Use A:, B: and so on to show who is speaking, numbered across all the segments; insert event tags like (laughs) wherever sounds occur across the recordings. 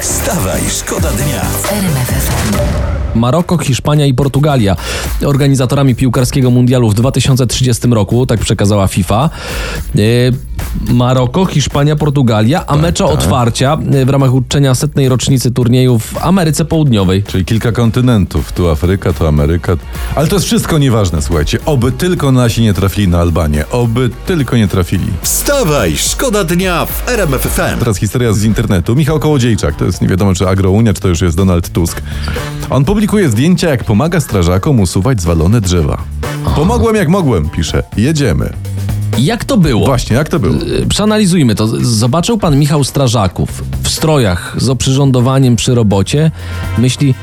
A: Wstawaj, szkoda dnia.
B: Maroko, Hiszpania i Portugalia organizatorami piłkarskiego mundialu w 2030 roku, tak przekazała FIFA. E, Maroko, Hiszpania, Portugalia,
C: Tak,
B: a mecze otwarcia e, w ramach uczczenia setnej rocznicy turnieju w Ameryce Południowej.
C: Czyli kilka kontynentów. Tu Afryka, tu Ameryka. Ale to jest wszystko nieważne, słuchajcie. Oby tylko nasi nie trafili na Albanię. Oby tylko nie trafili.
A: Wstawaj, szkoda dnia w RMF FM.
C: Teraz historia z internetu. Michał Kołodziejczak, to jest nie wiadomo czy Agrounia, czy to już jest Donald Tusk. On publikuje zdjęcia, jak pomaga strażakom usuwać zwalone drzewa. Pomogłem jak mogłem, pisze. Jedziemy.
B: Jak to było?
C: Właśnie, jak to było?
B: E, Przeanalizujmy to. Z- Zobaczył pan Michał Strażaków w strojach z oprzyrządowaniem przy robocie. Myśli,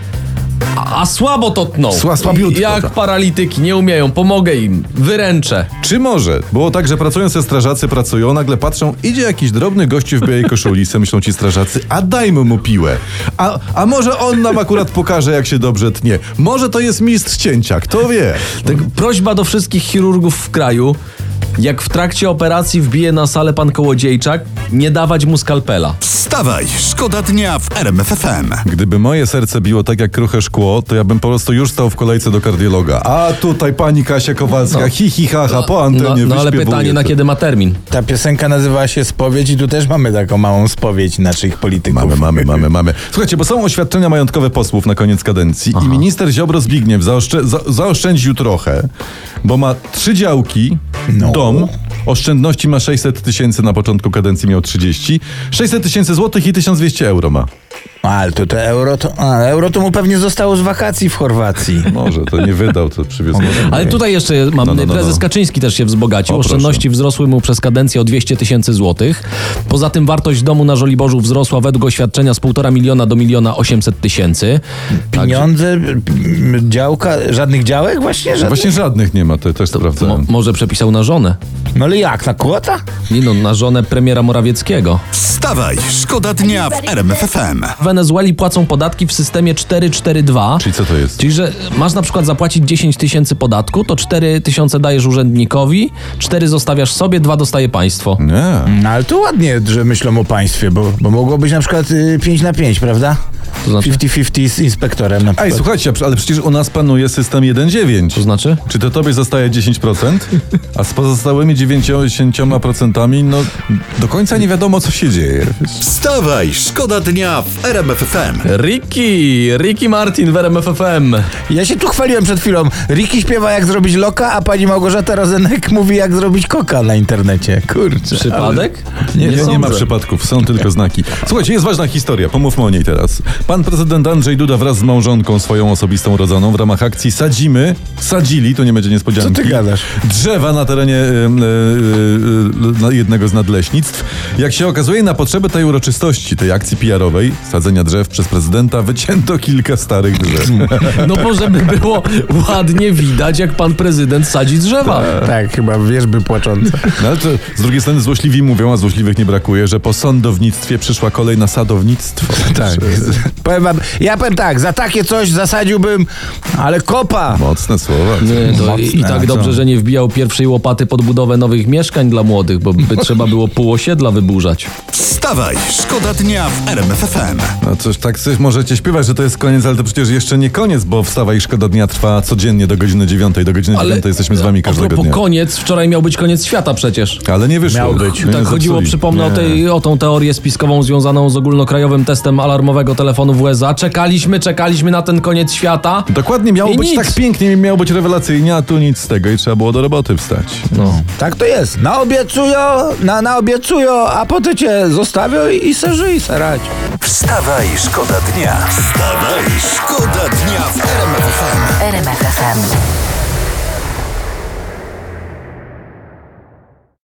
B: a a słabo to tną.
C: Sła- słabiutko,
B: Jak
C: tak.
B: paralityki, nie umieją, pomogę im, wyręczę.
C: Czy może? Było tak, że pracujący strażacy pracują, nagle patrzą, idzie jakiś drobny gościu w białej koszuli, (laughs) se myślą ci strażacy, a dajmy mu piłę. A, a może on nam akurat pokaże, jak się dobrze tnie. Może to jest mistrz cięcia, kto wie?
B: Tak, prośba do wszystkich chirurgów w kraju. Jak w trakcie operacji wbije na salę pan Kołodziejczak, nie dawać mu skalpela.
A: Wstawaj, szkoda dnia w RMF FM.
C: Gdyby moje serce biło tak jak kruche szkło, to ja bym po prostu już stał w kolejce do kardiologa. A tutaj pani Kasia Kowalska,
B: No.
C: hi hi ha ha, po
B: No,
C: antenie
B: no ale
C: wyśpiewuje
B: pytanie, na
C: to.
B: kiedy ma termin?
D: Ta piosenka nazywała się Spowiedź i tu też mamy taką małą spowiedź naszych polityków.
C: Mamy, mamy, mamy, mamy. Słuchajcie, bo są oświadczenia majątkowe posłów na koniec kadencji i minister Ziobro Zbigniew zaoszczę- za- zaoszczędził trochę, bo ma trzy działki, dom, oszczędności ma 600 tysięcy, na początku kadencji miał 30, 600 tysięcy złotych i 1200 euro ma.
D: A, No, ale to te euro to, a, euro to mu pewnie zostało z wakacji w Chorwacji.
C: Może, to nie wydał, to przywiózł.
B: Ale tutaj jeszcze mam,
C: No, no, no,
B: prezes
C: no.
B: Kaczyński też się wzbogacił.
C: O, proszę.
B: Oszczędności wzrosły mu przez kadencję o 200 tysięcy złotych. Poza tym wartość domu na Żoliborzu wzrosła według oświadczenia z 1,5 miliona do 1 800 tysięcy. Także
D: Pieniądze, m, działka, żadnych działek właśnie? Żadnych?
C: Właśnie żadnych nie ma, to też
B: mo-
C: sprawdzałem.
B: może przepisał na żonę.
D: No ale jak, na kłota?
B: Nie no, na żonę premiera Morawieckiego.
A: Wstawaj, szkoda dnia w RMF FM.
B: W Wenezueli płacą podatki w systemie 442.
C: Czyli co to jest?
B: Czyli, że masz na przykład zapłacić 10 tysięcy podatku, to 4 tysiące dajesz urzędnikowi, 4 zostawiasz sobie, 2 dostaje państwo.
C: Nie.
D: No ale to ładnie, że myślą o państwie, bo, bo mogło być na przykład y, 5 na 5, prawda?
B: To znaczy?
D: 50-50 z inspektorem na
C: Ej,
D: przykład.
C: słuchajcie, ale przecież u nas panuje system 1.9.
B: To znaczy?
C: Czy to tobie zostaje 10%, a z pozostałymi 90% no do końca nie wiadomo co się dzieje.
A: Wstawaj, szkoda dnia w RMF FM.
B: Ricky, Ricky Martin w RMF FM.
D: Ja się tu chwaliłem przed chwilą. Riki śpiewa jak zrobić loka, a pani Małgorzata Rozenek mówi jak zrobić koka na internecie. Kurczę.
B: Przypadek?
C: Nie, nie, nie ma
B: sądzę.
C: przypadków, są tylko znaki. Słuchajcie, jest ważna historia, pomówmy o niej teraz. Pan prezydent Andrzej Duda wraz z małżonką swoją osobistą rodzoną w ramach akcji Sadzimy, sadzili, to nie będzie niespodzianki.
D: Co ty gadasz?
C: Drzewa na terenie y, y, y, y, jednego z nadleśnictw. Jak się okazuje, na potrzeby tej uroczystości, tej akcji PR-owej, sadzenia drzew przez prezydenta, wycięto kilka starych
D: (laughs)
C: drzew.
B: No może by było ładnie widać, jak pan prezydent sadzi drzewa.
D: Tak, chyba wierzby płaczące.
C: No ale to, z drugiej strony złośliwi mówią, a złośliwych nie brakuje, że po sądownictwie przyszła kolej na
B: (laughs)
C: sadownictwo.
D: Tak. Powiem wam, ja powiem tak, za takie coś zasadziłbym, ale kopa.
C: Mocne słowa.
B: Nie, to i, I
D: Mocne,
B: tak
D: co?
B: dobrze, że nie wbijał pierwszej łopaty pod budowę nowych mieszkań dla młodych, bo by trzeba było pół osiedla wyburzać.
A: Wstawaj, szkoda dnia w RMF FM.
C: No cóż, tak coś możecie śpiewać, że to jest koniec, ale to przecież jeszcze nie koniec, bo wstawa i szkoda dnia trwa codziennie do godziny dziewiątej. Do godziny
B: Ale
C: dziewiątej jesteśmy z wami
B: a
C: każdego
B: propos
C: dnia.
B: koniec, wczoraj miał być koniec świata przecież.
C: Ale nie wyszło. No
D: Miał być.
C: Nie
B: Tak chodziło,
C: zepsuli.
B: przypomnę, o,
C: Nie.
B: tej, o tą teorię spiskową związaną z ogólnokrajowym testem alarmowego telefonu w USA. Czekaliśmy, czekaliśmy na ten koniec świata.
C: Dokładnie miało
B: I
C: być
B: nic.
C: tak pięknie, miało być rewelacyjnie, a tu nic z tego i trzeba było do roboty wstać.
B: No.
D: Tak to jest. Naobiecują, na, naobiecują, a potem cię zostawią i, i se żyj, se radź.
A: Wstawaj, szkoda dnia. Wstawaj, szkoda dnia w RMF FM.
E: RMFFM.